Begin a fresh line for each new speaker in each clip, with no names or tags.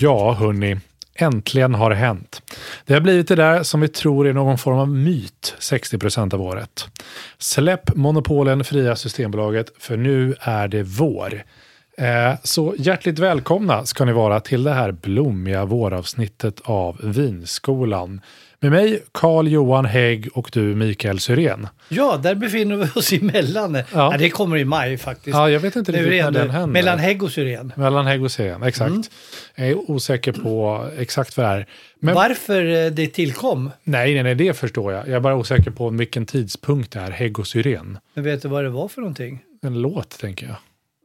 Ja, hörni. Äntligen har det hänt. Det har blivit det där som vi tror är någon form av myt 60 av året. Släpp monopolen fria Systembolaget, för nu är det vår. Eh, Så hjärtligt välkomna ska ni vara till det här blommiga våravsnittet av Vinskolan. Med mig, Carl-Johan Hägg och du, Mikael Syrén.
Ja, där befinner vi oss emellan. Ja. Ja, det kommer i maj faktiskt.
Ja, jag vet inte
Nu är
riktigt
det
när
ändå
den händer.
Mellan hägg Mm. och syren.
Mellan Hägg och Syrén, exakt. Jag är osäker på exakt vad det är. Men
Varför eh, det tillkom,
Nej, nej, nej, det förstår jag. Jag är bara osäker på vilken tidpunkt det är, Hägg och Syren.
men vet du vad det var för någonting?
En låt, tänker jag.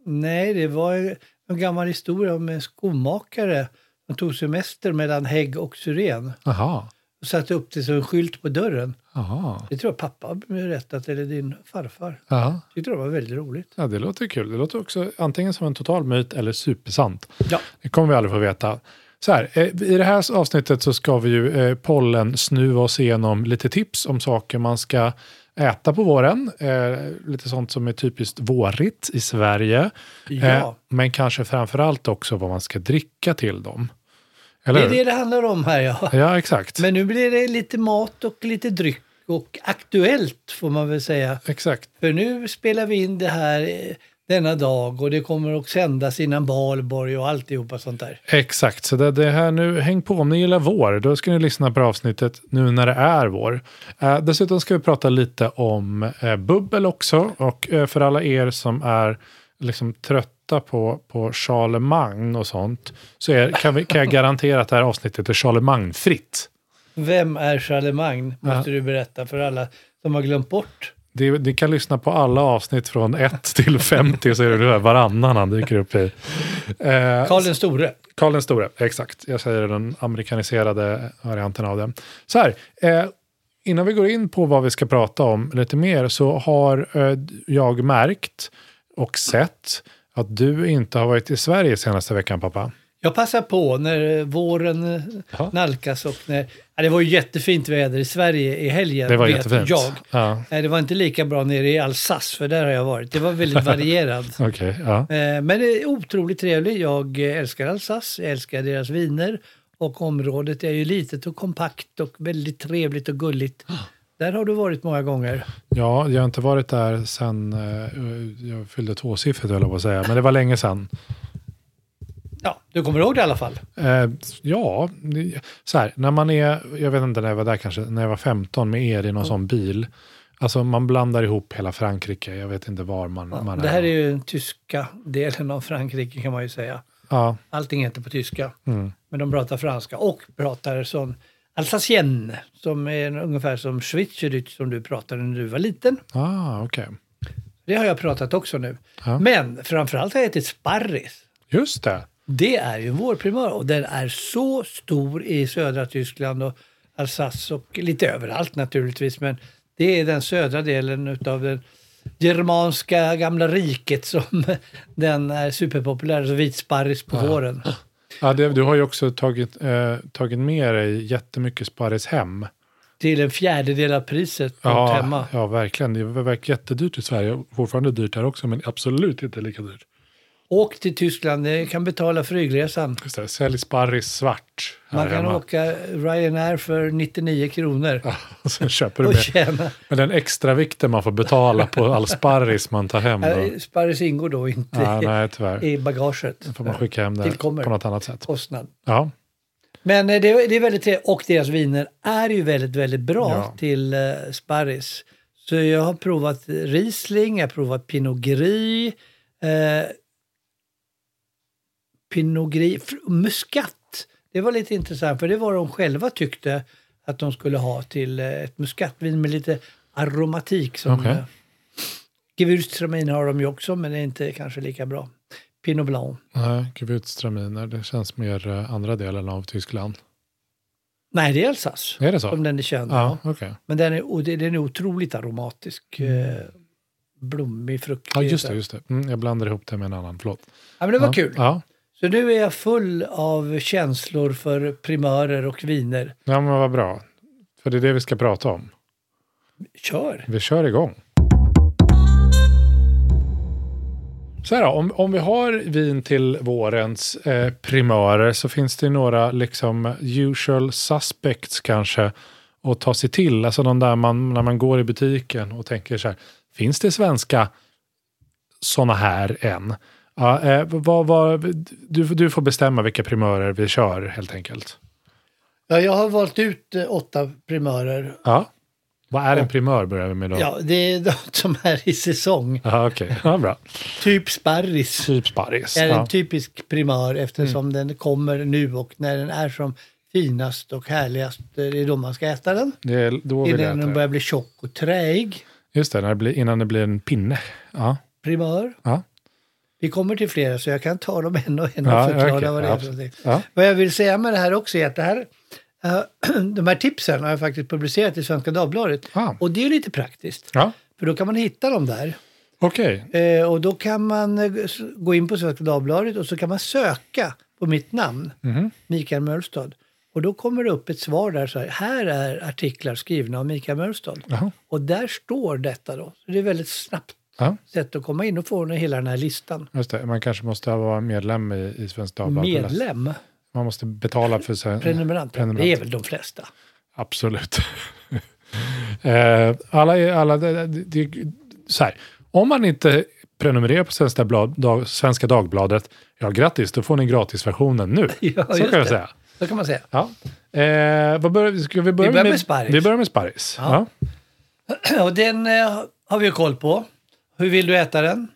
Nej, det var en gammal historia om en skomakare som tog semester mellan hägg och syren
Aha,
och satte upp det som en skylt på dörren.
aha,
Det tror jag pappa har rättat, eller din farfar.
aha.
Tyckte det var väldigt roligt.
Ja, det låter kul. Det låter också antingen som en total myt eller supersant.
Ja.
Det kommer vi aldrig få veta. Så här, eh, i det här avsnittet så ska vi ju eh, pollen snuva oss igenom lite tips om saker man ska äta på våren. Eh, lite sånt som är typiskt vårigt i Sverige. Eh,
Ja.
men kanske framför allt också vad man ska dricka till dem. Eller
Det är det
hur?
det handlar om här ja.
Ja, exakt.
Men nu blir det lite mat och lite dryck och aktuellt får man väl säga.
Exakt.
För nu spelar vi in det här eh, denna dag och det kommer att sändas innan valborg och alltihopa sånt där.
Exakt, så det, det här nu, häng på om ni gillar vår, då ska ni lyssna på avsnittet nu när det är vår. Eh, dessutom ska vi prata lite om eh, bubbel också och eh, för alla er som är liksom trötta på, på Charlemagne och sånt så är, kan, vi, kan jag garantera att det här avsnittet är Charlemagne-fritt.
Vem är Charlemagne? Måste du berätta för alla som har glömt bort.
Det- Ni kan lyssna på alla avsnitt från 1 till 50 så är det ungefär varannan han dyker upp i. Eh,
Karl den store.
Karl den store, exakt. Jag säger den amerikaniserade varianten av den. Så här, eh, innan vi går in på vad vi ska prata om lite mer så har eh, jag märkt och sett att du inte har varit i Sverige senaste veckan, pappa.
Jag passar på när eh, våren eh,
Jaha.
nalkas och när... Ja, det var ju jättefint väder i Sverige i helgen.
Det var
vet
jättefint.
Jag.
Ja,
Nej, det var inte lika bra nere i Alsace, för där har jag varit. Det var väldigt varierad.
okej. ja.
Eh, Men det är otroligt trevligt. Jag eh, älskar Alsace, jag älskar deras viner och området är ju litet och kompakt och väldigt trevligt och gulligt. Där har du varit många gånger.
ja, jag har inte varit där sen eh, jag fyllde tvåsiffrigt, höll jag på att säga. Men det var länge sedan.
Ja, du kommer ihåg det i alla fall.
Eh, ja, det- så här, när man är, jag vet inte när jag var där kanske, när jag var 15 med er i någon sån bil. Alltså man blandar ihop hela Frankrike, jag vet inte var man, man
Det här är ju den tyska delen av Frankrike kan man ju säga.
Ja,
Allting heter på tyska,
mm.
men de pratar franska och pratar sån Alsacien, som är ungefär som Schweizerdeutsch som du pratade när du var liten.
Ah, okej.
Det har jag pratat också nu.
Ja.
Men framförallt har jag ätit sparris.
Just det.
Det är ju en vårprimör och den är så stor i södra Tyskland och Alsace och lite överallt naturligtvis. Men det är den södra delen av det germanska gamla riket som den är superpopulär, alltså vitsparris på våren.
Ja, det. Du har ju också tagit, eh, tagit med dig jättemycket sparris hem.
Till en fjärdedel av priset på
Ja,
hemma.
ja, verkligen. Det verkar jättedyrt i Sverige. Fortfarande dyrt här också, men absolut inte lika dyrt.
Åk till Tyskland, ni kan betala flygresan.
Just det, sälj sparris svart här
Man kan
hemma.
åka Ryanair för 99 kronor
Sen köper du
och
med.
tjäna.
Men den extra vikten man får betala på all sparris man tar hem. Då.
Äh, Sparris ingår då inte
Ja,
i-
nej, tyvärr.
i bagaget.
Får man skicka hem det på
Tillkommer.
något annat sätt.
Kostnad.
Ja,
Men eh, det, det är väldigt trevligt och deras viner är ju väldigt, väldigt bra
Ja.
till eh, sparris. Så jag har provat Riesling, jag har provat Pinot Gris, eh, Pinot Gris, fr- Muskat. Det var lite intressant för det var de själva tyckte att de skulle ha till eh, ett muskatvin med lite aromatik. som
Okej.
okay. Gewürztraminer har de ju också men det är inte kanske lika bra. Pinot Blanc.
nej, Gewürztraminer. Det känns mer eh, andra delen av Tyskland.
Nej, det är Alsace
Är det så?
som den är känd.
Ja,
Ja.
okej.
Men den är, och det- den är otroligt aromatisk. eh, Blommig, frukt.
Mm. Ja, just det. Just det. Mm, jag blandar ihop det med en annan. Förlåt.
Ja, men det var
ja.
kul.
Ja.
Så nu är jag full av känslor för primörer och viner.
ja, men vad bra. För det är det vi ska prata om.
Kör!
Vi kör igång. Så här då, om, om vi har vin till vårens eh, primörer så finns det ju några liksom usual suspects kanske att ta sig till. Alltså de där man, när man går i butiken och tänker så här, finns det svenska sådana här än? Ja, eh, vad, vad, du, du får bestämma vilka primörer vi kör helt enkelt.
Ja, jag har valt ut eh, åtta primörer.
Ja. Vad är en primör börjar vi med då?
Ja, det är de som är i säsong.
Aha, okej. Ja, bra.
Typ sparris
Typ sparris.
är
Ja. Mm.
en typisk primör eftersom den kommer nu och när den är som finast och härligast, eh, det är då man ska äta den.
Det är, då vill
Innan
jag
den
äta det.
börjar bli tjock och träig.
Just det, när det blir, innan det blir en pinne. Ja,
Primör.
ja,
Vi kommer till flera så jag kan ta dem en och en och
ja,
förklara
okej,
vad det är. för
absolut.
någonting.
ja.
Vad jag vill säga med det här också är att det här, eh, de här tipsen har jag faktiskt publicerat i Svenska Dagbladet.
Ah.
Och det är ju lite praktiskt,
ja.
för då kan man hitta dem där.
okej.
Eh, och då kan man eh, s- gå in på Svenska Dagbladet och så kan man söka på mitt namn,
Mhm.
Mikael Mölstad. Och då kommer det upp ett svar där så här, här är artiklar skrivna av Mikael Mölstad.
Jaha.
Och där står detta då. Så det är väldigt snabbt
Ja,
sätt att komma in och få hela den här listan.
just det. Man kanske måste vara medlem i, i Svenska Dagbladet. för att läsa.
Medlem,
Man måste betala för sig.
prenumerant,
Prenumerant.
det är väl de flesta.
Absolut. Eh, alla, är- alla, det, det, det, så här. Om man inte prenumererar på Svenska, Blad, dag, Svenska Dagbladet, ja grattis, då får ni gratisversionen nu.
Ja,
så
just
kan jag
det.
säga.
Så kan man säga.
Ja. Eh, vad börjar, vi- ska vi börja
börjar med sparris.
Vi börjar med sparris. Ja.
Och den eh, har vi ju koll på. Hur vill du äta den?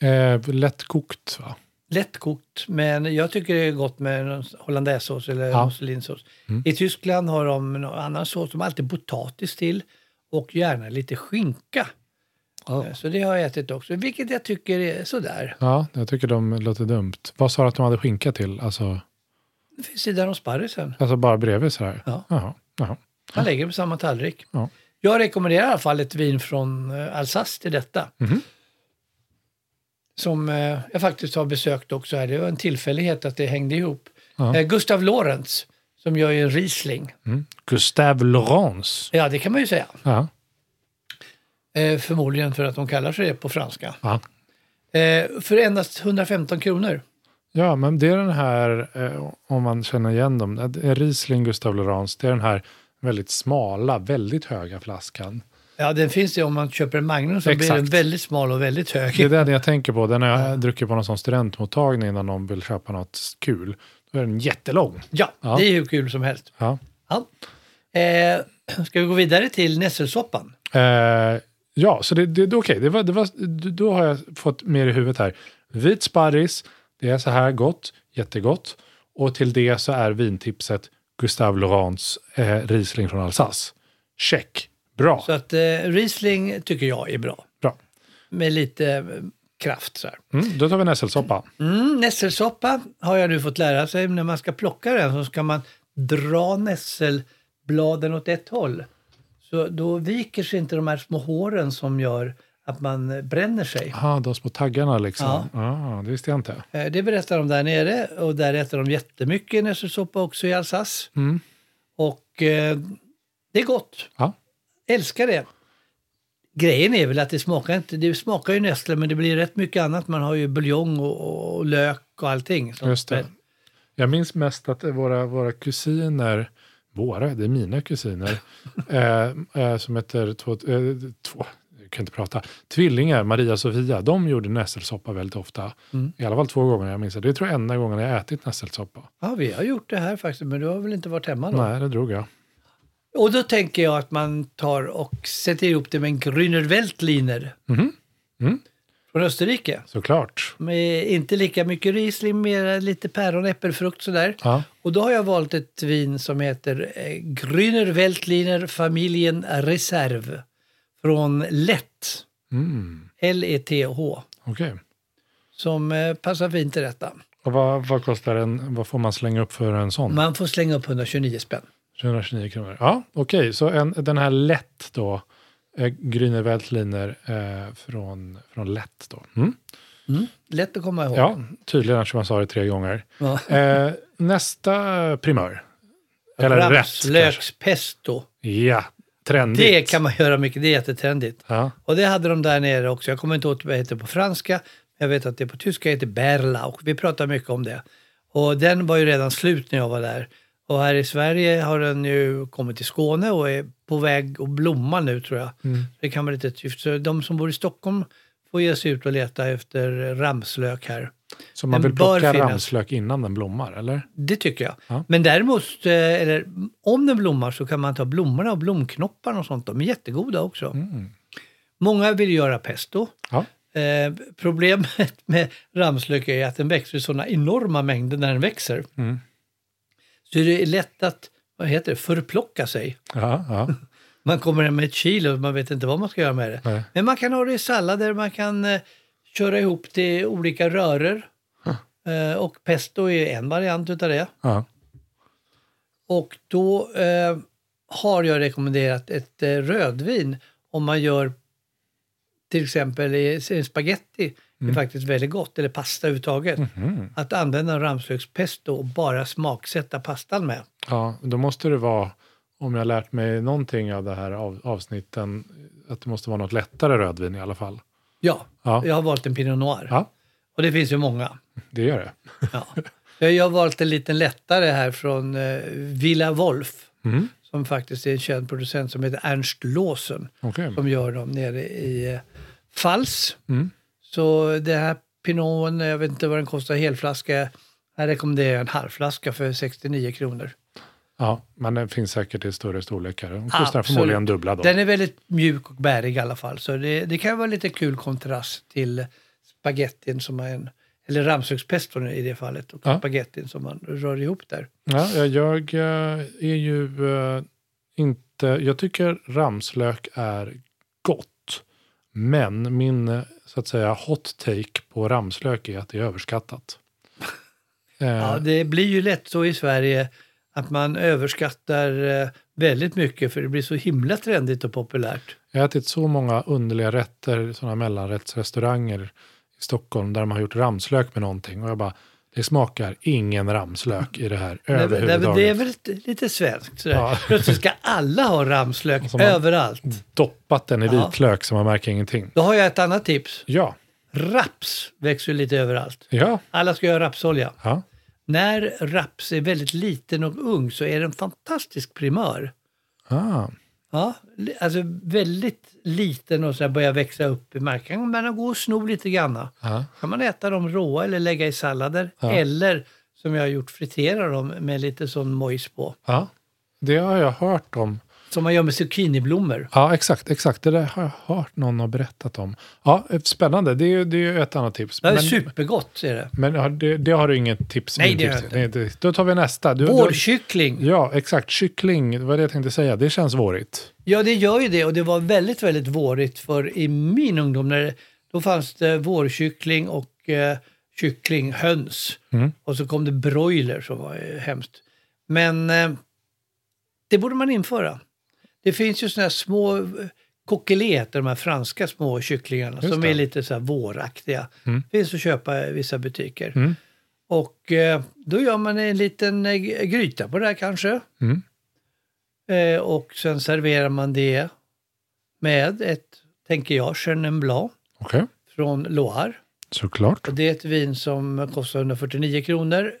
Eh, lättkokt, va?
Lättkokt, men jag tycker det är gott med någon hollandaisesås eller
Ja.
musselinsås. I Tyskland har de någon annan sås, de har alltid potatis till och gärna lite skinka. Eh, Så det har jag ätit också, vilket jag tycker är sådär.
Ja, jag tycker de låter dumt. Vad sa du att de hade skinka till? Alltså,
Vid sidan om sparrisen.
alltså bara bredvid sådär?
Ja.
Jaha, jaha.
Man lägger på samma tallrik.
Ja.
Jag rekommenderar i alla fall ett vin från eh, Alsace till detta.
Mhm.
Som eh, jag faktiskt har besökt också här. Det var en tillfällighet att det hängde ihop.
Ja.
Eh, Gustav Lorenz, som gör ju en Riesling.
Mm. Gustave Laurence.
Ja, det kan man ju säga.
Ja.
Eh, förmodligen för att de kallar sig det på franska.
Ja.
Eh, för endast 115 kronor.
ja, men det är den här, eh, om man känner igen dem, eh, det är Riesling Gustave Laurence, det är den här väldigt smala, väldigt höga flaskan.
Ja, den finns ju om man köper en Magnum så blir
Exakt.
den väldigt smal och väldigt hög.
Det är den jag tänker på, den har jag druckit på någon sån studentmottagning innan någon vill köpa något kul. Då är den jättelång.
Ja,
Ja.
det är hur kul som helst.
Ja.
Ja. Eh, ska vi gå vidare till nässelsoppan?
Eh, ja, så det, det, det, okej, det var, det var, då har jag fått mer i huvudet här. Vit sparris, det är så här gott, jättegott. Och till det så är vintipset Gustave Laurents eh, Riesling från Alsace. Check. Bra.
Så att eh, Riesling tycker jag är bra.
Bra.
Med lite eh, kraft så här.
Mm, då tar vi en ässelsoppa.
Mm, nässelsoppa har jag nu fått lära sig. När man ska plocka den så ska man dra nässelbladen åt ett håll. Så då viker sig inte de här små håren som gör att man eh, bränner sig.
Ah, de små taggarna liksom. Ja. Ah, det visste jag inte.
Eh, Det berättar de där nere och där äter de jättemycket nässelsoppa också i Alsace.
Mm.
Och eh, det är gott.
Ja.
Älskar det. Grejen är väl att det smakar inte, det smakar ju nässlor men det blir rätt mycket annat. Man har ju buljong och, och, och lök och allting. Så-
Just det. Jag minns mest att våra, våra kusiner, våra, det är mina kusiner, eh, eh, som heter två, eh, två, jag kan inte prata, tvillingar, Maria och Sofia, de gjorde nässelsoppa väldigt ofta. I alla fall två gånger jag minns det. Det tror jag enda gången jag ätit nässelsoppa.
Ja, vi har gjort det här faktiskt men du har väl inte varit hemma då?
Nej, det drog jag.
Och då tänker jag att man tar och sätter ihop det med en Grüner Veltliner
Mhm. Mm.
från Österrike.
Såklart.
Med inte lika mycket Riesling, mer lite päron, äppelfrukt sådär.
Ja.
Och då har jag valt ett vin som heter eh, Grüner Veltliner familjen Reserve från Lätt,
Mm.
L-E-T-H,
Okej.
som eh, passar fint till detta.
Och vad, vad kostar en, vad får man slänga upp för en sån?
Man får slänga upp 129 spänn.
329 kronor. Ja, okej. Så en, den här lätt då, eh, Grüner Veltliner eh, från, från lätt då. Mm.
Lätt att komma ihåg.
Ja, tydligen eftersom jag sa det tre gånger.
Ja.
Eh, nästa primör. Eller rätt kanske.
Rapslökspesto.
Ja, trendigt.
Det kan man göra mycket, det är jättetrendigt.
Ja,
Och det hade de där nere också. Jag kommer inte ihåg vad det heter på franska. men Jag vet att det på tyska heter Berlauch. Vi pratar mycket om det. Och den var ju redan slut när jag var där. Och här i Sverige har den ju kommit till Skåne och är på väg att blomma nu tror jag. Det kan vara lite tyft. Så de som bor i Stockholm får ge sig ut och leta efter ramslök här.
så man
den
vill
bör
plocka
finnas.
ramslök innan den blommar, eller?
Det tycker jag.
Ja.
Men däremot, eh, eller om den blommar så kan man ta blommorna och blomknopparna och sånt. De är jättegoda också. Många vill göra pesto.
Ja,
Eh, problemet med ramslök är att den växer i sådana enorma mängder när den växer.
Mm.
Så det är lätt att, vad heter det, förplocka sig.
ja, ja.
Man kommer hem med ett kilo och man vet inte vad man ska göra med det.
Nej.
Men man kan ha det i sallader, man kan eh, köra ihop det i olika röror. Eh, och pesto är en variant utav det.
ja.
Och då eh, har jag rekommenderat ett eh, rödvin om man gör till exempel i, i spaghetti,
Mm.
är faktiskt väldigt gott, eller pasta överhuvudtaget.
Mhm.
Att använda ramslökspesto och bara smaksätta pastan med.
ja då måste det vara, om jag har lärt mig någonting av det här av, avsnitten, att det måste vara något lättare rödvin i alla fall.
Ja,
Ja.
jag har valt en pinot noir.
Ja,
Och det finns ju många.
det gör det.
Ja. Jag har valt en liten lättare här från eh, Villa Wolf,
Mm.
som faktiskt är en känd producent som heter Ernst Lawson.
Okej.
som gör dem nere i eh, Fals.
Mm.
Så det här Pinoten, jag vet inte vad den kostar, helflaska. Här rekommenderar jag en halvflaska för 69 kronor.
Ja, men den finns säkert i större storlekar. De kostar förmodligen dubbla då.
Den är väldigt mjuk och bärig i alla fall. Så det, det kan vara lite kul kontrast till spagettin som är en, eller ramslökspeston i det fallet, och
Ja.
spagettin som man rör ihop där.
Ja, jag- jag eh, är ju eh, inte... Jag tycker ramslök är gott. Men min eh, så att säga hot take på ramslök är att det är överskattat. Eh,
Ja, det blir ju lätt så i Sverige att man överskattar eh, väldigt mycket för det blir så himla trendigt och populärt.
Jag har ätit så många underliga rätter, sådana mellanrättsrestauranger i Stockholm där de har gjort ramslök med någonting. Och jag bara, det smakar ingen ramslök i det här
Nej, men- nej, men
överhuvudtaget.
det är väl lite, lite svenskt. Sådär.
Ja.
Plötsligt ska alla ha ramslök
Som man- Mm.
överallt.
Doppat den i
Ja.
vitlök så man märker ingenting.
Då har jag ett annat tips.
Ja,
Raps växer ju lite överallt.
ja,
Alla ska göra rapsolja.
ja.
När raps är väldigt liten och ung så är det en fantastisk primör.
Ah.
Ja, li- alltså väldigt liten och så här börjar växa upp i marken. Men den går och snor lite granna.
Ja.
kan man äta dem råa eller lägga i sallader. Eller som jag har gjort, fritera dem med lite sån mojs på.
Ja, det har jag hört om.
Som man gör med zucchiniblommor.
Ja, exakt. exakt. Det där har jag hört någon ha berättat om. Ja, spännande. Det är ju det är ju ett annat tips.
Det är
Men,
supergott, är det.
men har- det, det har du inget tips?
Nej,
min
det har
tips.
jag
Nej, det- Då tar vi nästa. Du, du,
Vårkyckling.
ja, exakt. Kyckling, det var det jag tänkte säga. Det känns vårigt.
Ja, det gör ju det. Och det var väldigt, väldigt vårigt. För i min ungdom, när det, då fanns det vårkyckling och eh, kyckling, höns.
Mm.
Och så kom det broiler som var eh, hemskt. Men eh, det borde man införa. Det finns ju sådana här små eh, coquelé heter de här franska små kycklingarna
Just
som
det. Mm.
är lite så här våraktiga. Finns att köpa i vissa butiker. Och eh, då gör man en liten eh, gryta på det här kanske.
Mm.
Eh, och sen serverar man det med ett, tänker jag, Chenin Blanc
Okej,
från Loire.
såklart.
Och det är ett vin som kostar 149 kronor.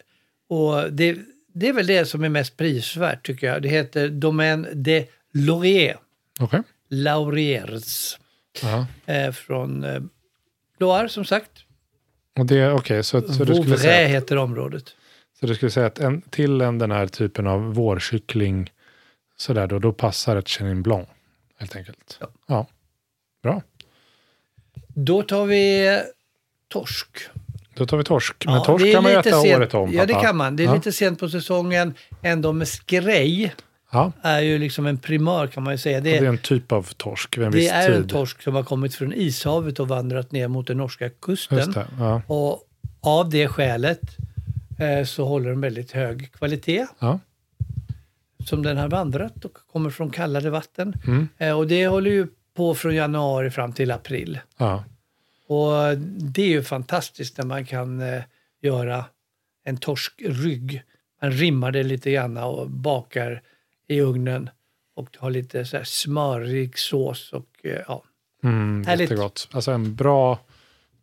Och det, det är väl det som är mest prisvärt tycker jag. Det heter Domaine de Laurier.
Okej.
Lauriers.
Ja.
Eh, från eh, Loire som sagt.
Och det, okej, så, så, du skulle
Vauvray
säga,
heter området.
så du skulle säga att en, till en, den här typen av vårkyckling, sådär då, då passar ett Chenin Blanc, helt enkelt.
Ja.
ja. Bra.
Då tar vi eh, torsk.
Då tar vi torsk. Men
Ja, det
torsk
är
kan man ju
lite
äta
sent-
året om.
Ja, det
pappa.
kan man. Det är
ja.
lite sent på säsongen. Ändå med skrej
Ja.
är ju liksom en primör kan man ju säga.
Det
Det,
är en typ av torsk vid en
det
viss
är en
tid.
torsk som har kommit från Ishavet och vandrat ner mot den norska kusten.
Just det. Ja.
Och av det skälet eh, så håller den väldigt hög kvalitet
Ja.
som den har vandrat och kommer från kallare vatten.
Mm.
Eh, och det håller ju på från januari fram till april.
Ja.
Och det är ju fantastiskt när man kan eh, göra en torskrygg. Man rimmar det lite grann och bakar i ugnen och har lite så här smörig sås och eh, ja.
Mm,
Härligt.
jättegott. Alltså en bra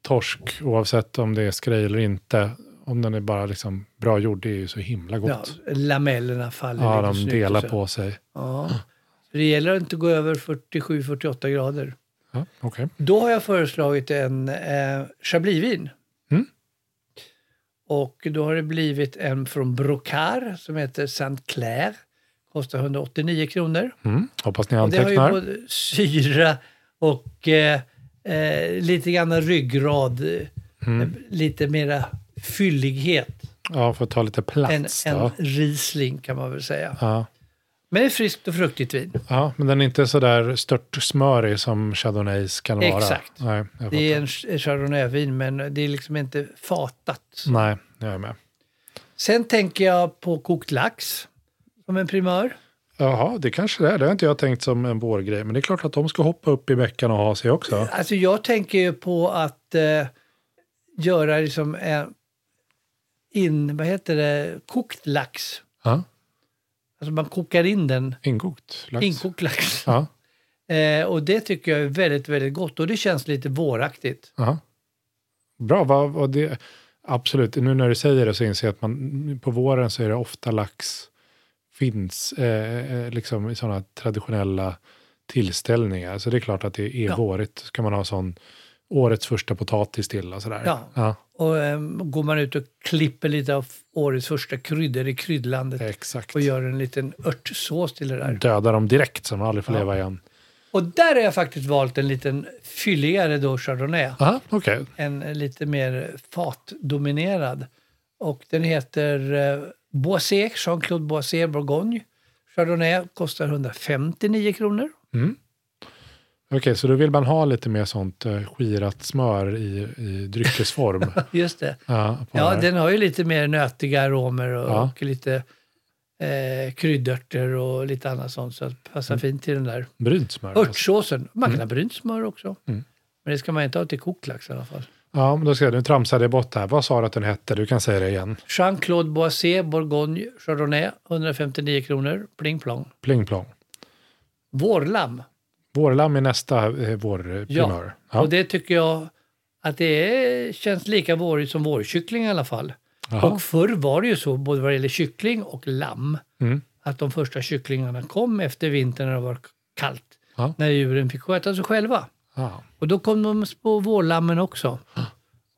torsk, oavsett om det är skrej eller inte, om den är bara liksom bra gjord, det är ju så himla
ja
gott.
lamellerna faller
Ja,
lite
de
snyggt
delar
och så.
på sig.
Ja. Så det gäller att inte gå över 47-48 grader.
Ja, okej.
Då har jag föreslagit en eh, chablisvin.
Mm.
Och då har det blivit en från Brocard som heter Saint Clair. Kostar 189 kronor.
Mm. Hoppas ni
Och det har ju
antecknar.
både syra och eh, eh, lite grann ryggrad. eh,
Mm.
Lite mera fyllighet
Ja, för att ta lite
än
plats.
en
då.
Riesling kan man väl säga.
Ja.
Men det är friskt och fruktigt vin.
ja, men den är inte så där stört smörig som chardonnays kan vara.
Exakt.
Nej, jag
Det är
fattar.
en ch- chardonnayvin men det är liksom inte fatat.
Nej, jag är med.
Sen tänker jag på kokt lax som en primör.
Jaha, det kanske det är. Det har inte jag tänkt som en vårgrej. Men det är klart att de ska hoppa upp i bäckarna och ha sig också.
Alltså jag tänker ju på att eh, göra liksom en in, vad heter det, kokt lax.
Ja,
Alltså man kokar in den,
inkokt lax.
inkokt lax.
Ja,
Eh, och det tycker jag är väldigt, väldigt gott och det känns lite våraktigt.
aha. Bra, vad, vad det, absolut. Nu när du säger det så inser jag att man, på våren så är det ofta lax finns eh, eh, liksom i sådana traditionella tillställningar. Så det är klart att det är
Ja.
vårigt. Ska man ha sån årets första potatis till och sådär.
Ja.
ja
Och eh, går man ut och klipper lite av årets första kryddor i kryddlandet
exakt.
och gör en liten örtsås till det där.
Döda dem direkt så de aldrig får leva igen.
Och där har jag faktiskt valt en liten fylligare då Chardonnay.
Aha, okej.
En lite mer fatdominerad. Och den heter eh, Boisé, Jean-Claude Boisé Bourgogne. Chardonnay kostar 159 kronor.
Okej, så då vill man ha lite mer sånt eh, skirat smör i, i dryckesform.
Just det.
ja, på
Ja,
här.
den har ju lite mer nötiga aromer och,
Ja.
och lite eh, kryddörter och lite annat sånt. Så att passar fint till den där
Brynt smör. alltså.
örtsåsen. Man kan ha brynt smör också. Men det ska man inte ha till kokt lax i alla fall.
Ja, men då ska jag, nu tramsade jag bort det här. Vad sa du att den hette? Du kan säga det igen.
Jean-Claude Boisé Bourgogne Chardonnay 159 kronor. Pling plong.
Pling plong.
Vårlamm.
Vårlamm är nästa eh, vårprimör.
Och det tycker jag att det är, känns lika vårigt som vårkyckling i alla fall.
Jaha.
Och förr var det ju så, både vad det gäller kyckling och lamm,
Mm.
att de första kycklingarna kom efter vintern när det var kallt.
Ja.
När djuren fick sköta sig själva.
Ja.
Och då kom de små vårlammen också.
Ah.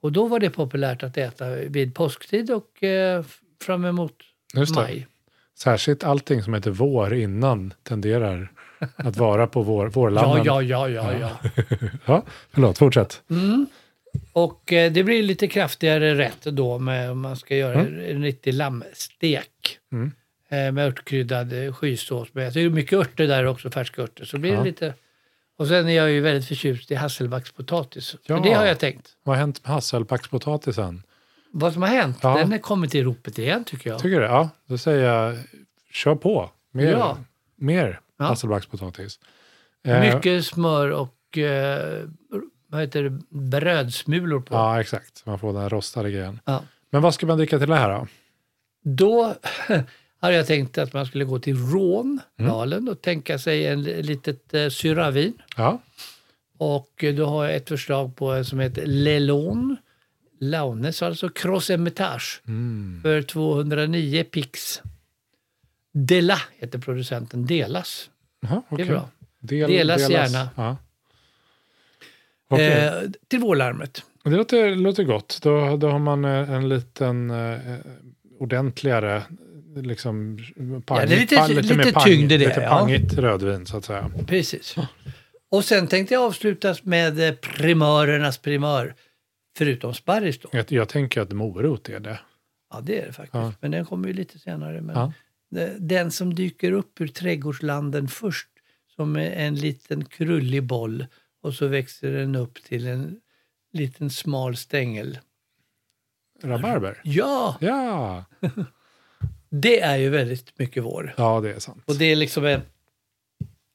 Och då var det populärt att äta vid påsktid och eh, fram emot
Just det.
maj.
Särskilt allting som heter vår innan tenderar att vara på vår, vårlanden.
Ja, ja, ja, ja, ja. Mm.
ja, förlåt, fortsätt.
Och eh, det blir lite kraftigare rätt då med, om man ska göra
Mm.
en riktig lammstek. Eh, med örtkryddad eh, skysås. Med. Så det är mycket örter där också, färska örter. Så blir det lite... Och sen är jag ju väldigt förtjust i hasselbackspotatis.
Ja.
För det har jag tänkt.
Vad har hänt med hasselbackspotatisen?
Vad som har hänt,
Ja.
den har kommit i ropet igen tycker jag.
Tycker du? Ja, då säger jag kör på. Mer,
Ja.
mer
Ja.
hasselbackspotatis. Eh.
Mycket smör och eh, vad heter det? brödsmulor på.
Ja, exakt. Man får den här rostade grejen.
Ja.
Men vad ska man dricka till det här då?
Då hade jag tänkt att man skulle gå till Rån,
Mm.
Dalen, och tänka sig en li- litet eh, syravin.
Ja,
Och eh, då har jag ett förslag på en som heter Lelon. Launes, alltså Cross Hermitage. För 209 pix. Dela heter producenten. Delas.
Aha,
är
okej.
bra.
Del,
Delas gärna.
Ja. Okej.
Eh, till vårlarmet.
Det låter, låter gott. Då, då har man eh, en liten eh, ordentligare, liksom, pang,
Ja, det är lite-
pang-
lite
mer pang,
tyngd i det,
Lite
ja.
pangigt rödvin så att säga.
Precis. Och sen tänkte jag avslutas med eh, primörernas primör. Förutom sparris då.
Jag, jag tänker att morot är det.
Ja, det är det faktiskt.
Ja.
Men den kommer ju lite senare. Men
Ja.
de- Den som dyker upp ur trädgårdslanden först som är en liten krullig boll och så växer den upp till en liten smal stängel.
Rabarber?
Ja,
Ja,
det är ju väldigt mycket vår.
ja det är sant.
Och det är liksom en,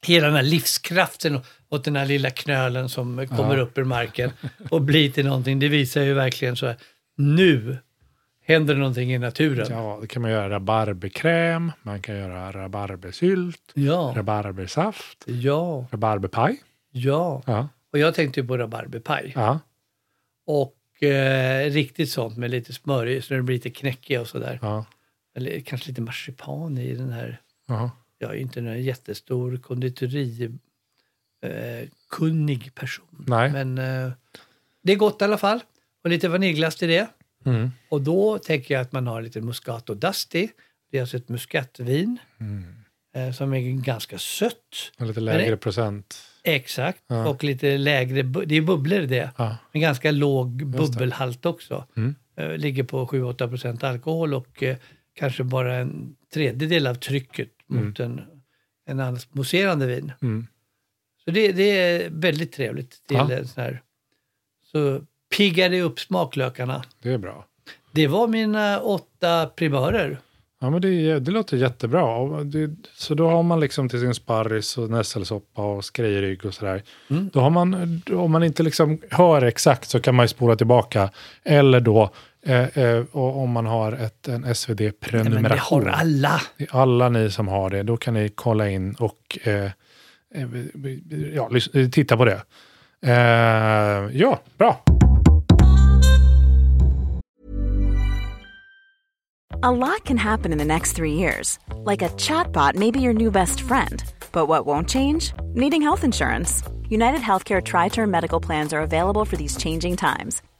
hela den här livskraften åt den här lilla knölen som kommer upp ur marken och blir till någonting. Det visar ju verkligen så här, nu händer någonting i naturen.
Ja, det kan man göra rabarberkräm, man kan göra rabarbersylt,
Ja,
rabarbersaft,
ja,
rabarberpaj.
ja.
Ja,
Och jag tänkte ju på rabarberpaj.
ja.
Och eh, riktigt sånt med lite smör i, så den blir lite knäckig och sådär.
ja.
Eller kanske lite marsipan i den här.
Aha.
Jag är ju inte någon jättestor konditori eh, kunnig person.
Nej.
Men eh, det är gott i alla fall. Och lite vaniljglass till det.
Mm.
Och då tänker jag att man har lite Muscato Dusty. Det är alltså ett muskatvin.
Mm.
Eh, som är ganska sött.
Och Lite
Men
lägre
det-
procent.
Exakt. Och lite lägre, bu- det är bubblor i det.
Ja.
En ganska låg bubbelhalt också.
Mm.
Eh, Ligger på 7-8 procent alkohol och eh, kanske bara en tredjedel av trycket mot en, en annars mousserande vin.
Mm.
Så det, det är väldigt trevligt till
Ja.
en sån här. Så piggar det upp smaklökarna.
Det är bra.
Det var mina åtta primörer.
Ja, men det, är- det låter jättebra. Och Det, så då har man liksom till sin sparris och nässelsoppa och skrejrygg och sådär.
Mm.
Då har man, om man inte liksom hör exakt så kan man ju spola tillbaka. Eller då eh, eh, och om man har ett, en
Nej, men det
SvD-prenumeration.
har alla.
Det är alla ni som har det, då kan ni kolla in och eh, eh, ja, lys- eh, titta på det. Eh, ja, bra.
A lot can happen in the next three years. Like a chatbot may be your new best friend. But what won't change? Needing health insurance. United Healthcare Tri Term Medical Plans are available for these changing times.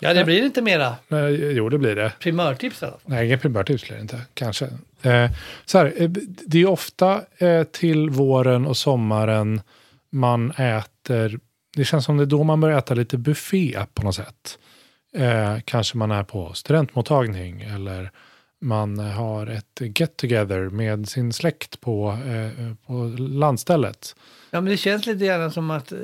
Ja, det blir inte mera
eh, jo, det blir det.
primörtips i alla fall.
Nej, inga primärtips blir det inte, kanske. Eh, så här, eh, det är ofta eh, till våren och sommaren man äter, det känns som det är då man börjar äta lite buffé på något sätt. Eh, kanske man är på studentmottagning eller man har ett get together med sin släkt på, eh, på landstället.
Ja, men det känns lite grann som att eh,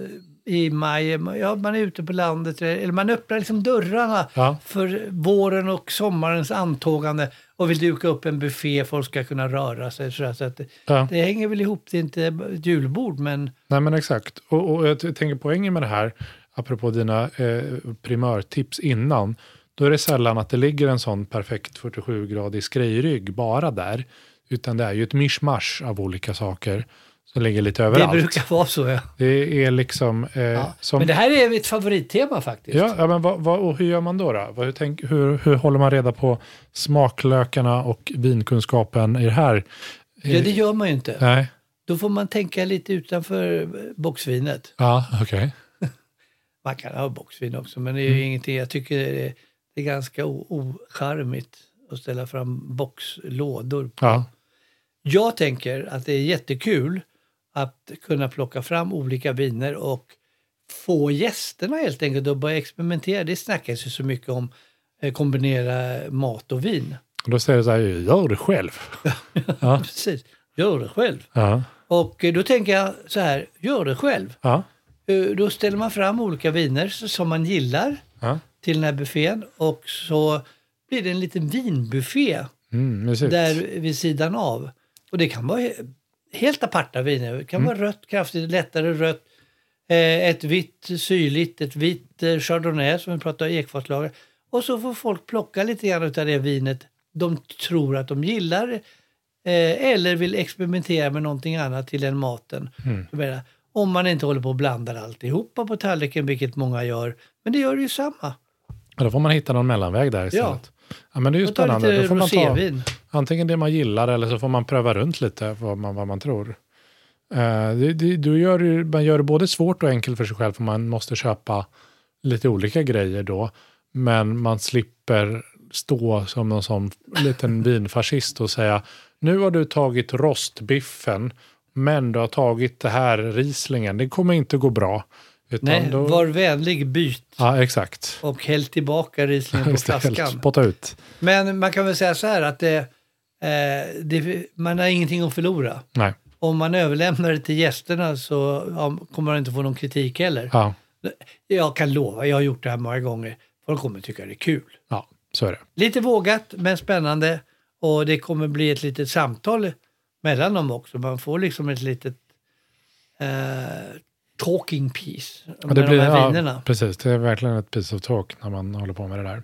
i maj, ja, man är ute på landet, eller man öppnar liksom dörrarna
Ja.
för våren och sommarens antågande och vill duka upp en buffé, folk ska kunna röra sig. sådär, Så att det,
Ja.
det hänger väl ihop, det är inte ett julbord, men
Nej men exakt. Och, och jag t- tänker poängen med det här, apropå dina eh, primörtips innan, då är det sällan att det ligger en sån perfekt 47-gradig skrejrygg bara där, utan det är ju ett mischmasch av olika saker som ligger lite
det
överallt. Det,
brukar vara så. Ja.
är liksom... Eh,
Ja.
som,
Men det här är ett favorittema faktiskt.
ja, ja, men vad, vad, och hur gör man då? då? Vad, hur, tänk, hur, hur håller man reda på smaklökarna och vinkunskapen i det här? Eh,
Ja, det gör man ju inte.
Nej,
Då får man tänka lite utanför eh, boxvinet.
ja, okej.
Man kan ha boxvin också, men det är ju ingenting. Jag tycker det är, det är ganska o- ocharmigt att ställa fram boxlådor.
Ja,
Jag tänker att det är jättekul att kunna plocka fram olika viner och få gästerna helt enkelt att börja experimentera. Det snackas ju så mycket om eh, kombinera mat och vin.
och då säger det så här, gör det själv. Ja.
Precis, gör det själv.
Ja,
Och eh, då tänker jag så här, gör det själv.
ja,
Eh, Då ställer man fram olika viner s- som man gillar.
ja.
till den här buffén och så blir det en liten vinbuffé
Mm, mysigt.
där vid sidan av. Och det kan vara he- helt aparta viner. Det kan
Mm.
vara rött, kraftigt, lättare rött, eh, ett vitt syrligt, ett vitt eh, chardonnay som vi pratade om, ekfatslager. Och så får folk plocka lite grann av det vinet de tror att de gillar eh, eller vill experimentera med någonting annat till den maten.
Mm.
Jag menar, om man inte håller på och blandar alltihopa på tallriken, vilket många gör. Men det gör ju samma.
Ja, då får man hitta någon mellanväg där istället. Ja. men det är ju
Och ta
spännande. Då
lite
får man ta
rosévin.
antingen det man gillar eller så får man pröva runt lite vad man, vad man tror. Eh, det, det, du gör, ju- man gör det både svårt och enkelt för sig själv för man måste köpa lite olika grejer då. Men man slipper stå som någon sån liten vinfascist och säga nu har du tagit rostbiffen men du har tagit det här rislingen. Det kommer inte gå bra. Utan
Nej,
då-
var vänlig, byt
Ja, exakt.
och häll tillbaka rislingen på
Just det, helt
flaskan.
Spotta ut.
Men man kan väl säga så här att det, eh, det, man har ingenting att förlora.
Nej.
Om man överlämnar det till gästerna så ja, kommer man inte få någon kritik heller.
Ja,
Jag kan lova, jag har gjort det här många gånger. Folk kommer tycka det är kul.
ja så är det.
Lite vågat men spännande och det kommer bli ett litet samtal mellan dem också. Man får liksom ett litet eh, talking piece med
det
de här vinerna.
ja, precis, det är verkligen ett piece of talk när man håller på med det där.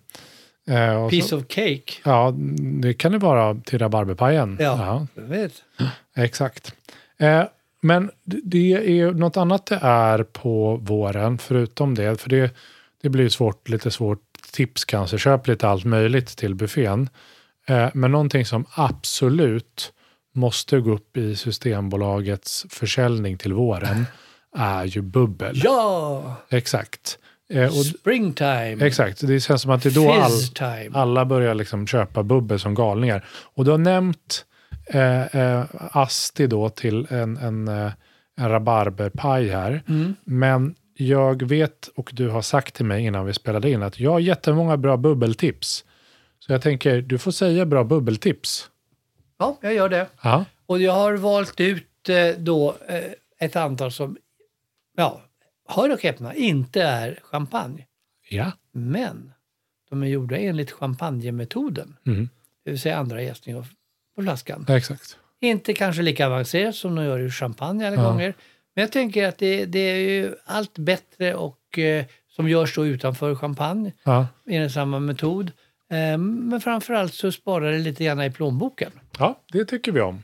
Eh, och
Piece
så,
of cake.
Ja, det kan det vara till rabarberpajen.
Ja, jag vet.
Ja, exakt. Eh, men det- det är ju något annat det är på våren, förutom det. För det, det blir ju svårt, lite svårt tips kanske. Köp lite allt möjligt till buffén. Eh, men någonting som absolut måste gå upp i Systembolagets försäljning till våren är ju bubbel.
Ja!
Exakt. Eh, och-
Springtime.
Exakt, det känns som att det är då
Mm. Fizz
all,
time.
alla börjar liksom köpa bubbel som galningar. Och du har nämnt eh, eh, Asti då till en, en, eh, en rabarberpaj här.
Mm.
Men jag vet, och du har sagt till mig innan vi spelade in, att jag har jättemånga bra bubbeltips. Så jag tänker, du får säga bra bubbeltips.
Ja, jag gör det.
Ja,
Och jag har valt ut eh, då eh, ett antal som, ja, hör och häpna, inte är champagne.
ja.
Men de är gjorda enligt champagnemetoden.
Mm.
Det vill säga andra jäsning av- på flaskan.
exakt.
Inte kanske lika avancerat som de gör i champagne alla
Ja.
gånger. Men jag tänker att det, det är ju allt bättre och eh, som görs då utanför champagne
Ja.
enligt samma metod. Eh, men framförallt så sparar det lite grann i plånboken.
ja, det tycker vi om.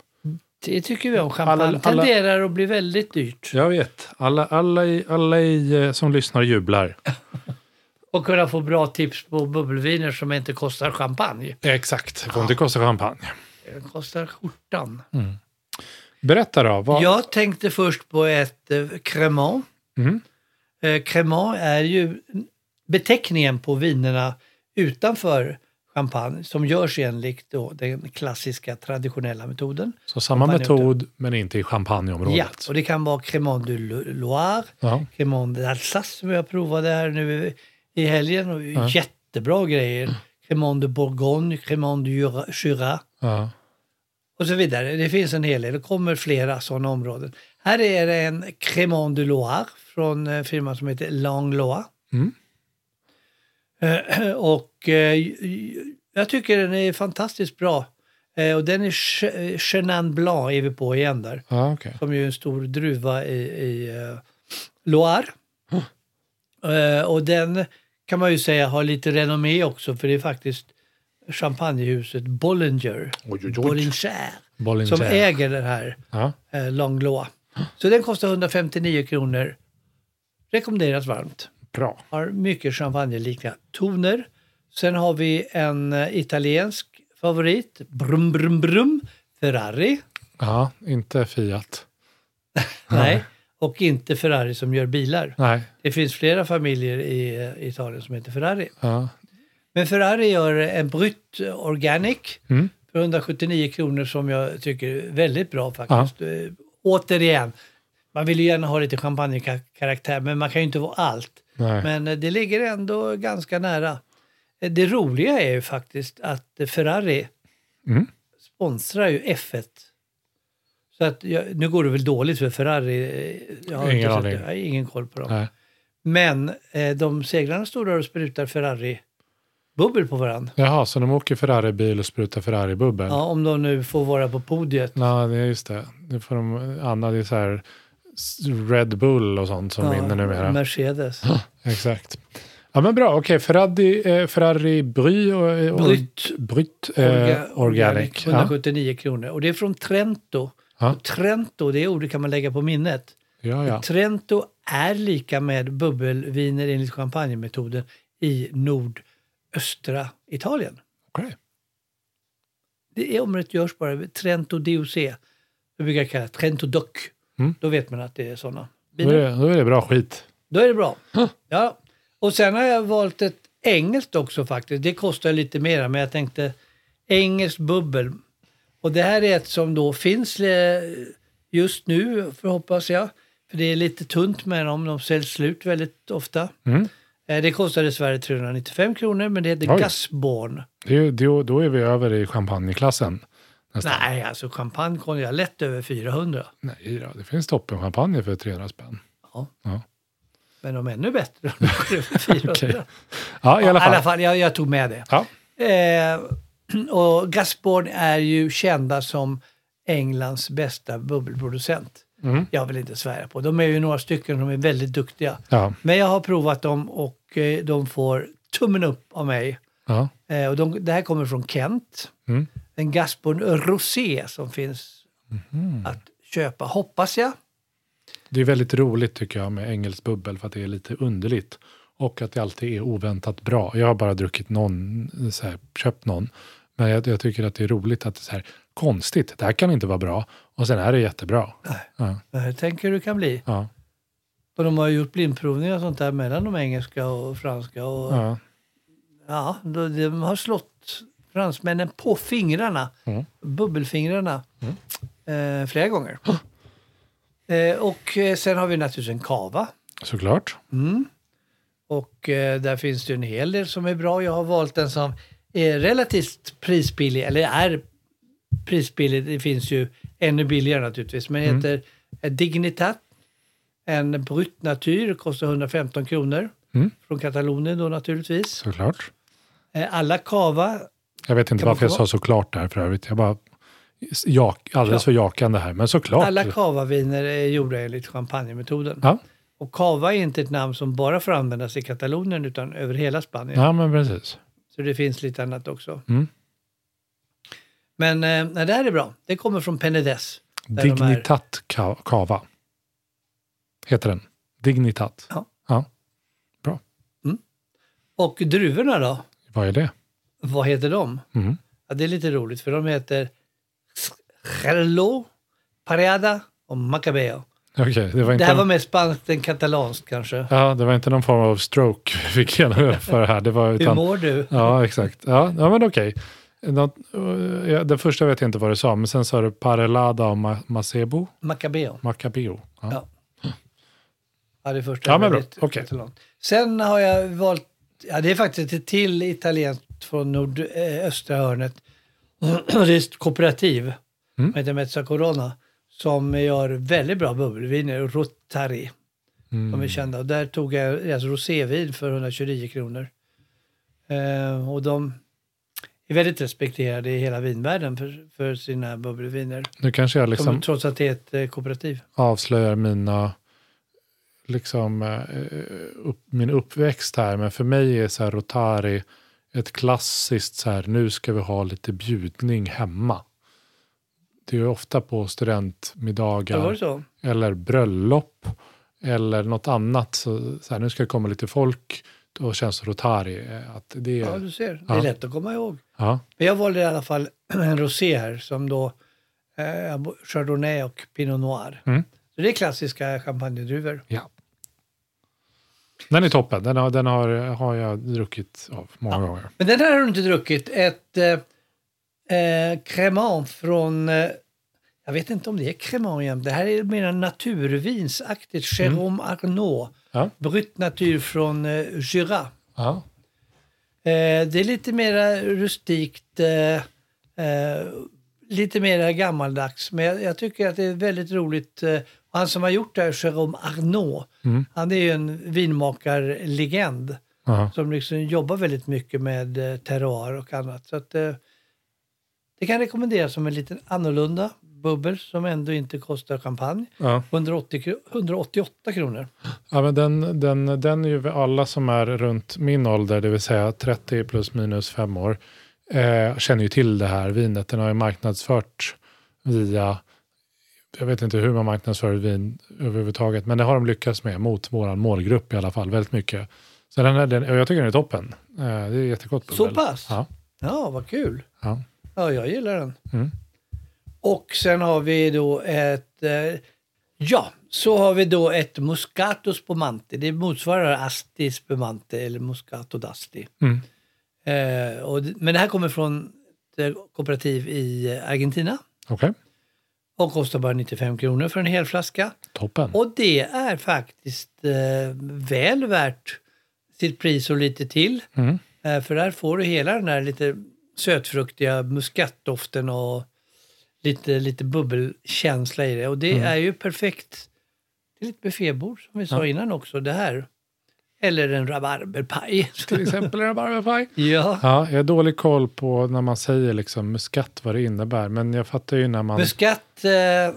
Det tycker vi om. Champagne
Alla- alla-
tenderar att bli väldigt dyrt.
Jag vet, alla, alla, i, alla i, eh, som lyssnar jublar.
Och kunna få bra tips på bubbelviner som inte kostar champagne.
Exakt, det får inte kosta champagne.
Det kostar skjortan.
Berätta då. Vad,
Jag tänkte först på ett eh, Cremant.
Mm.
Eh, Cremant är ju beteckningen på vinerna utanför champagne som görs enligt då den klassiska traditionella metoden.
Så samma
Champagne
metod, men inte i
Ja,
champagneområdet.
och det kan vara Cremant du Lo- Loire,
Ja.
Cremant d'Alsace som jag provade här nu i- i helgen. Och Jättebra grejer. Cremant de Bourgogne, Cremant du Jura- Jura
Ja.
och så vidare. Det finns en hel del. Det kommer flera sådana områden. Här är det en Cremant de Loire från eh, firman som heter Langlois.
Mm.
Eh, Och eh, jag tycker den är fantastiskt bra. Eh, Och den är Che- eh, Chenin Blanc är vi på igen där.
Ja, okej.
Som ju är en stor druva i, i eh, Loire. Eh, och den kan man ju säga har lite renommé också för det är faktiskt champagnehuset Bollinger.
Oj, oj, oj.
Bollinger.
Bollinger.
Som äger den här
Ja.
eh, Langlois. Så den kostar 159 kronor. Rekommenderas varmt.
Bra.
Har mycket champagneliknande toner. Sen har vi en eh, italiensk favorit. Brum, brum, brum. Ferrari.
Ja, inte Fiat.
Nej. Och inte Ferrari som gör bilar.
Nej.
Det finns flera familjer i eh, Italien som heter Ferrari.
Ja.
Men Ferrari gör en Brut Organic
Mm.
för 179 kronor som jag tycker är väldigt bra faktiskt. Eh, Återigen, man vill ju gärna ha lite champagnekaraktär men man kan ju inte vara allt.
Nej.
Men eh, det ligger ändå ganska nära. Eh, Det roliga är ju faktiskt att eh, Ferrari
Mm.
sponsrar ju F1. Så att jag, nu går det väl dåligt för Ferrari. eh, Jag har,
Ingen
inte sett,
aning.
det. jag har ingen koll på dem.
Nej.
Men eh, de seglarna står där och sprutar Ferrari-bubbel på varandra.
Jaha, så de åker Ferrari-bil och sprutar Ferrari-bubbel?
Ja, om de nu får vara på podiet.
Ja, det är just det. Det får de, Anna, det är så här s- Red Bull och sånt som
Ja,
vinner numera.
Mercedes.
Exakt. Ja, men bra. Okej, Ferrari, eh, Ferrari Bry och, och
Bryt.
Bryt eh,
Orga-
Organic. Ja.
179 kronor. Och det är från Trento.
Ja.
Och Trento, det ordet kan man lägga på minnet.
Ja, ja.
Trento är lika med bubbelviner enligt champagnemetoden i nordöstra Italien.
Okej.
Det är området görs bara vid Trento DOC. Det brukar jag kalla Trento Doc.
Mm.
Då vet man att det är sådana
Då, är det- då är det bra skit.
Då är det bra. Ja. Och sen har jag valt ett engelskt också faktiskt. Det kostar lite mera, men jag tänkte engelskt bubbel. Och det här är ett som då finns eh, just nu, för hoppas jag. För det är lite tunt med dem, de säljs slut väldigt ofta.
Mm.
Eh, Det kostar i Sverige 395 kronor, men det heter
Oj.
Gasborn.
Det är, ju- då, då är vi över i champagneklassen. Nästan.
Nej, alltså champagne kommer jag lätt över 400.
Nej då, det finns toppenchampagne för 300 spänn.
Ja.
Ja.
Men de är ännu bättre. De går över 400.
Okej. Ja, i alla
I alla
fall.
fall, jag, jag tog med det.
Ja.
Eh, och Gasborn är ju kända som Englands bästa bubbelproducent.
Mm.
Jag vill inte svära på. De är ju några stycken som är väldigt duktiga.
Ja.
Men jag har provat dem och eh, de får tummen upp av mig.
Ja.
Eh, och de, det här kommer från Kent.
Mm.
En Gasborn Rosé som finns
Mhm.
att köpa, hoppas jag.
Det är väldigt roligt tycker jag med engelsk bubbel för att det är lite underligt. Och att det alltid är oväntat bra. Jag har bara druckit någon, så här, köpt någon. Men jag, jag tycker att det är roligt att det är så här, konstigt, det här kan inte vara bra. Och sen är det jättebra. Ja,
Jag tänker hur det kan bli.
ja.
Och de har gjort blindprovningar och sånt där mellan de engelska och franska. Och, ja.
Ja.
då- de har slått fransmännen på fingrarna,
Mm.
bubbelfingrarna, eh, flera gånger. eh, och eh, sen har vi naturligtvis en kava.
Såklart.
Och eh, där finns det ju en hel del som är bra. Jag har valt en som är relativt prisbillig, eller är prisbillig. Det finns ju ännu billigare naturligtvis, men
Mm.
heter eh, Dignitat. En brut natur, kostar 115 kronor.
Mm.
Från Katalonien då naturligtvis.
Såklart.
Eh, Alla kava,
Jag vet inte
Kan man
varför jag sa
få-
såklart där för övrigt. Jag bara jak, alldeles för jakande här, men såklart.
alla kavaviner är gjorda enligt champagnemetoden.
ja.
Och kava är inte ett namn som bara får användas i Katalonien utan över hela Spanien.
ja, men precis.
Så det finns lite annat också.
Mm.
Men eh, nej, det här är bra. Det kommer från Penedes. Där de är-
Dignitat ka- kava. Heter den. Dignitat.
Ja.
ja.
Och druvorna då?
Vad är det?
Vad heter de?
Mm.
Ja, det är lite roligt för de heter Hello, Pareada och Macabeo.
Okej, det var
Det
inte...
här var mer spanskt än katalanskt kanske.
Ja, det var inte någon form av stroke vi fick igenom för det här. Det var
Hur
utan...
mår du?
Ja, exakt. Ja, ja men okej. Något- eh, ja, Den första vet jag inte vad du sa, men sen sa du Parelada och Ma- Macebo.
Macabeo.
Macabeo. Ja.
Ja. Ja, det första.
Ja,
är
men bra.
väldigt
Okej.
katalanskt. Sen har jag valt, ja det är faktiskt ett till italienskt från nordöstra hörnet. Det är ett kooperativ
Mm.
som heter Mezza Corona som gör väldigt bra bubbelviner, Rotari. De
Mm.
är kända. Och där tog jag deras rosévin för 129 kronor. Eh, och de är väldigt respekterade i hela vinvärlden för, för sina bubbelviner.
Nu kanske jag
Som,
liksom
Trots att det är ett eh, kooperativ.
avslöjar mina, liksom, eh, upp, min uppväxt här, men för mig är så här Rotari ett klassiskt så här, nu ska vi ha lite bjudning hemma. Det är ju ofta på
Ja. Var det
studentmiddagar
så?
eller bröllop eller något annat. Så, så här, nu ska det komma lite folk, då känns Rotari eh, att det
Ja,
är...
du ser. Det
Ja.
är lätt att komma ihåg.
Ja,
Men jag valde i alla fall en rosé här som då eh, Chardonnay och Pinot Noir.
Mm.
Så det är klassiska champagnedruvor.
ja. Den är toppen, den har, den har, har jag druckit av många gånger.
Men den här har du inte druckit. Ett eh, eh, Cremant från, eh, jag vet inte om det är Cremant igen. Det här är mer en naturvinsaktigt.
Mm.
Jérôme Arnaud.
Ja.
Brut natur från eh, Jura.
Ja.
Eh, det är lite mera rustikt, eh, eh, lite mera gammaldags. Men jag, jag tycker att det är väldigt roligt. Eh, och han som har gjort det här, Jérôme Arnaud, han är ju en vinmakarlegend
Ja.
som liksom jobbar väldigt mycket med eh, terroir och annat. Så att, eh, det kan rekommenderas som en liten annorlunda bubbel som ändå inte kostar champagne.
Ja.
180, kro- 188 kronor.
Ja, men den, den, den är ju alla som är runt min ålder, det vill säga 30 plus minus fem år, eh, känner ju till det här vinet. Den har ju marknadsfört via, jag vet inte hur man marknadsför ett vin överhuvudtaget, men det har de lyckats med mot vår målgrupp i alla fall, väldigt mycket. Så den här, den, och jag tycker den är toppen. Eh, det är jättegott.
Så
bubbel.
pass?
Ja,
Ja, vad kul.
ja.
Ja, jag gillar den.
Mm.
Och sen har vi då ett... Eh, ja, så har vi då ett Moscato Spumante. Det motsvarar Asti Spumante eller Moscato d'Asti.
Mm.
Eh, och, d- men det här kommer från ett kooperativ i eh, Argentina
Okej,
och kostar bara 95 kronor för en hel flaska.
toppen.
Och det är faktiskt eh, väl värt sitt pris och lite till.
Mm.
Eh, För där får du hela den här lite sötfruktiga muskatdoften och lite, lite bubbelkänsla i det. Och det
Mm.
är ju perfekt till ett buffébord som vi sa innan också, det här. Eller en rabarberpaj.
Till exempel rabarberpaj.
ja.
Ja, jag har dålig koll på när man säger liksom muskat vad det innebär, men jag fattar ju när man...
Muskat eh,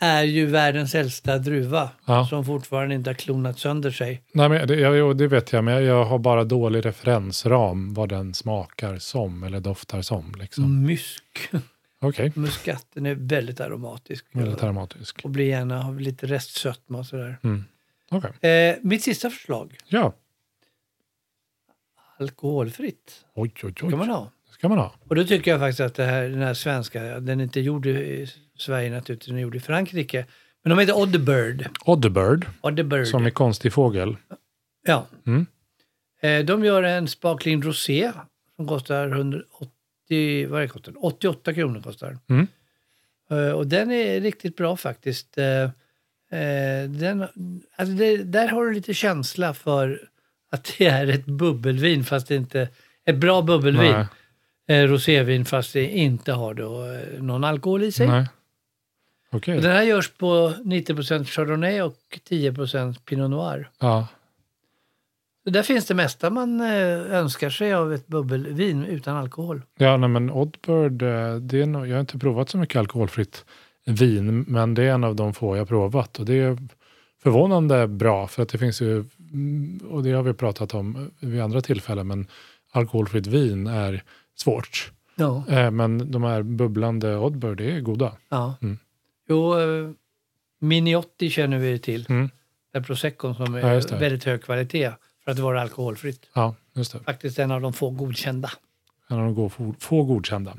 är ju världens äldsta druva
Ja.
som fortfarande inte har klonat sönder sig.
Nej, men det, jag, jo, det vet jag, men jag, jag har bara dålig referensram vad den smakar som eller doftar som. Liksom.
Mm. Mysk.
Okej,
Muskatten är väldigt aromatisk.
väldigt aromatisk.
och blir gärna har lite restsötma och sådär.
Okej,
Eh, mitt sista förslag,
ja.
alkoholfritt,
Oj, oj, oj.
kan man ha.
Det ska man ha.
Och då tycker jag faktiskt att det här, den här svenska, den är inte gjord i Sverige naturligtvis, den är gjord i Frankrike. Men de heter Oddbird.
Oddbird,
Oddbird.
som är konstig fågel.
Ja.
Mm.
Eh, De gör en sparkling rosé som kostar 180, vad är det kostar? den? 88 kronor. kostar.
Mm.
den. Eh, Och den är riktigt bra faktiskt. Eh, eh, Den, alltså det, där har du lite känsla för att det är ett bubbelvin fast det inte... Ett bra bubbelvin.
Nej,
Eh, Rosévin fast det inte har då eh, någon alkohol i sig.
nej. Okej.
Och Den här görs på 90% Chardonnay och 10% Pinot Noir.
Ja.
Så Där finns det mesta man eh, önskar sig av ett bubbelvin utan alkohol.
Ja, nej, men Oddbird, eh, det är nog, jag har inte provat så mycket alkoholfritt vin, men det är en av de få jag har provat. Och det är förvånande bra, för att det finns ju, mm, och det har vi pratat om vid andra tillfällen, men alkoholfritt vin är svårt.
Ja.
Eh, Men de här bubblande Oddbird, det är goda.
ja.
Mm.
Jo, eh, Miniotti känner vi ju till.
Mm.
Det är proseccon som
Ja,
är
just det.
väldigt hög kvalitet för att vara alkoholfritt.
Ja, just det.
Faktiskt en av de få godkända.
En av de gå- få, få godkända.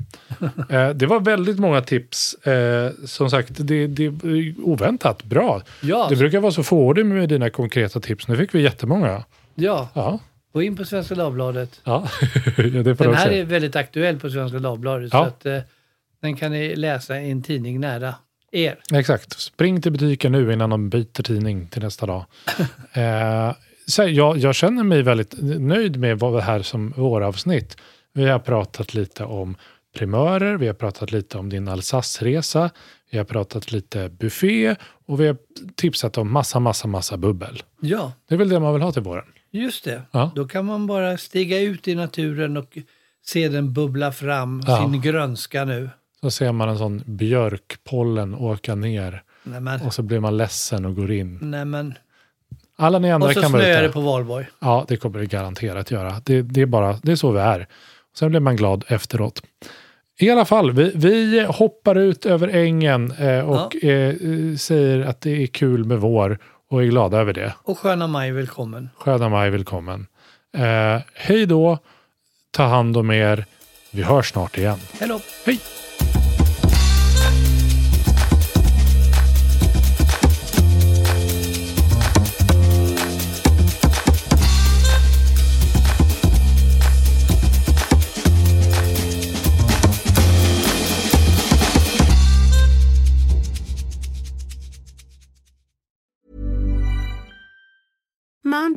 Eh, det var väldigt många tips. Eh, som sagt, det, det är oväntat bra.
Ja,
Det brukar vara så fåordig med dina konkreta tips. Nu fick vi jättemånga.
ja.
Ja,
gå in på Svenska Dagbladet.
ja. ja det får
Den
du
här
säga.
är väldigt aktuell på Svenska Dagbladet.
Ja.
Så att, eh, den kan ni läsa i en tidning nära er.
Exakt. Spring till butiken nu innan de byter tidning till nästa dag. Eh, så här, jag, jag känner mig väldigt nöjd med vad det här som våravsnitt. Vi har pratat lite om primörer, vi har pratat lite om din Alsace-resa, vi har pratat lite buffé och vi har tipsat om massa, massa, massa bubbel.
Ja,
Det är väl det man vill ha till våren.
just det.
Ja.
Då kan man bara stiga ut i naturen och se den bubbla fram
Ja.
sin grönska nu.
Så ser man en sån björkpollen åka ner
Nej, men,
och så blir man ledsen och går in.
nej, men.
Alla ni andra
Och så
kan vara ute.
snöar det på valborg.
Ja, det kommer det garanterat göra. Det, det, är bara, det är så vi är. Sen blir man glad efteråt. I alla fall, vi, vi hoppar ut över ängen eh, och eh, eh, säger att det är kul med vår och är glada över det.
Och sköna maj välkommen.
Sköna maj välkommen. Eh, hej då, ta hand om er. Vi hörs snart igen.
Hej då!
Hej!
Mom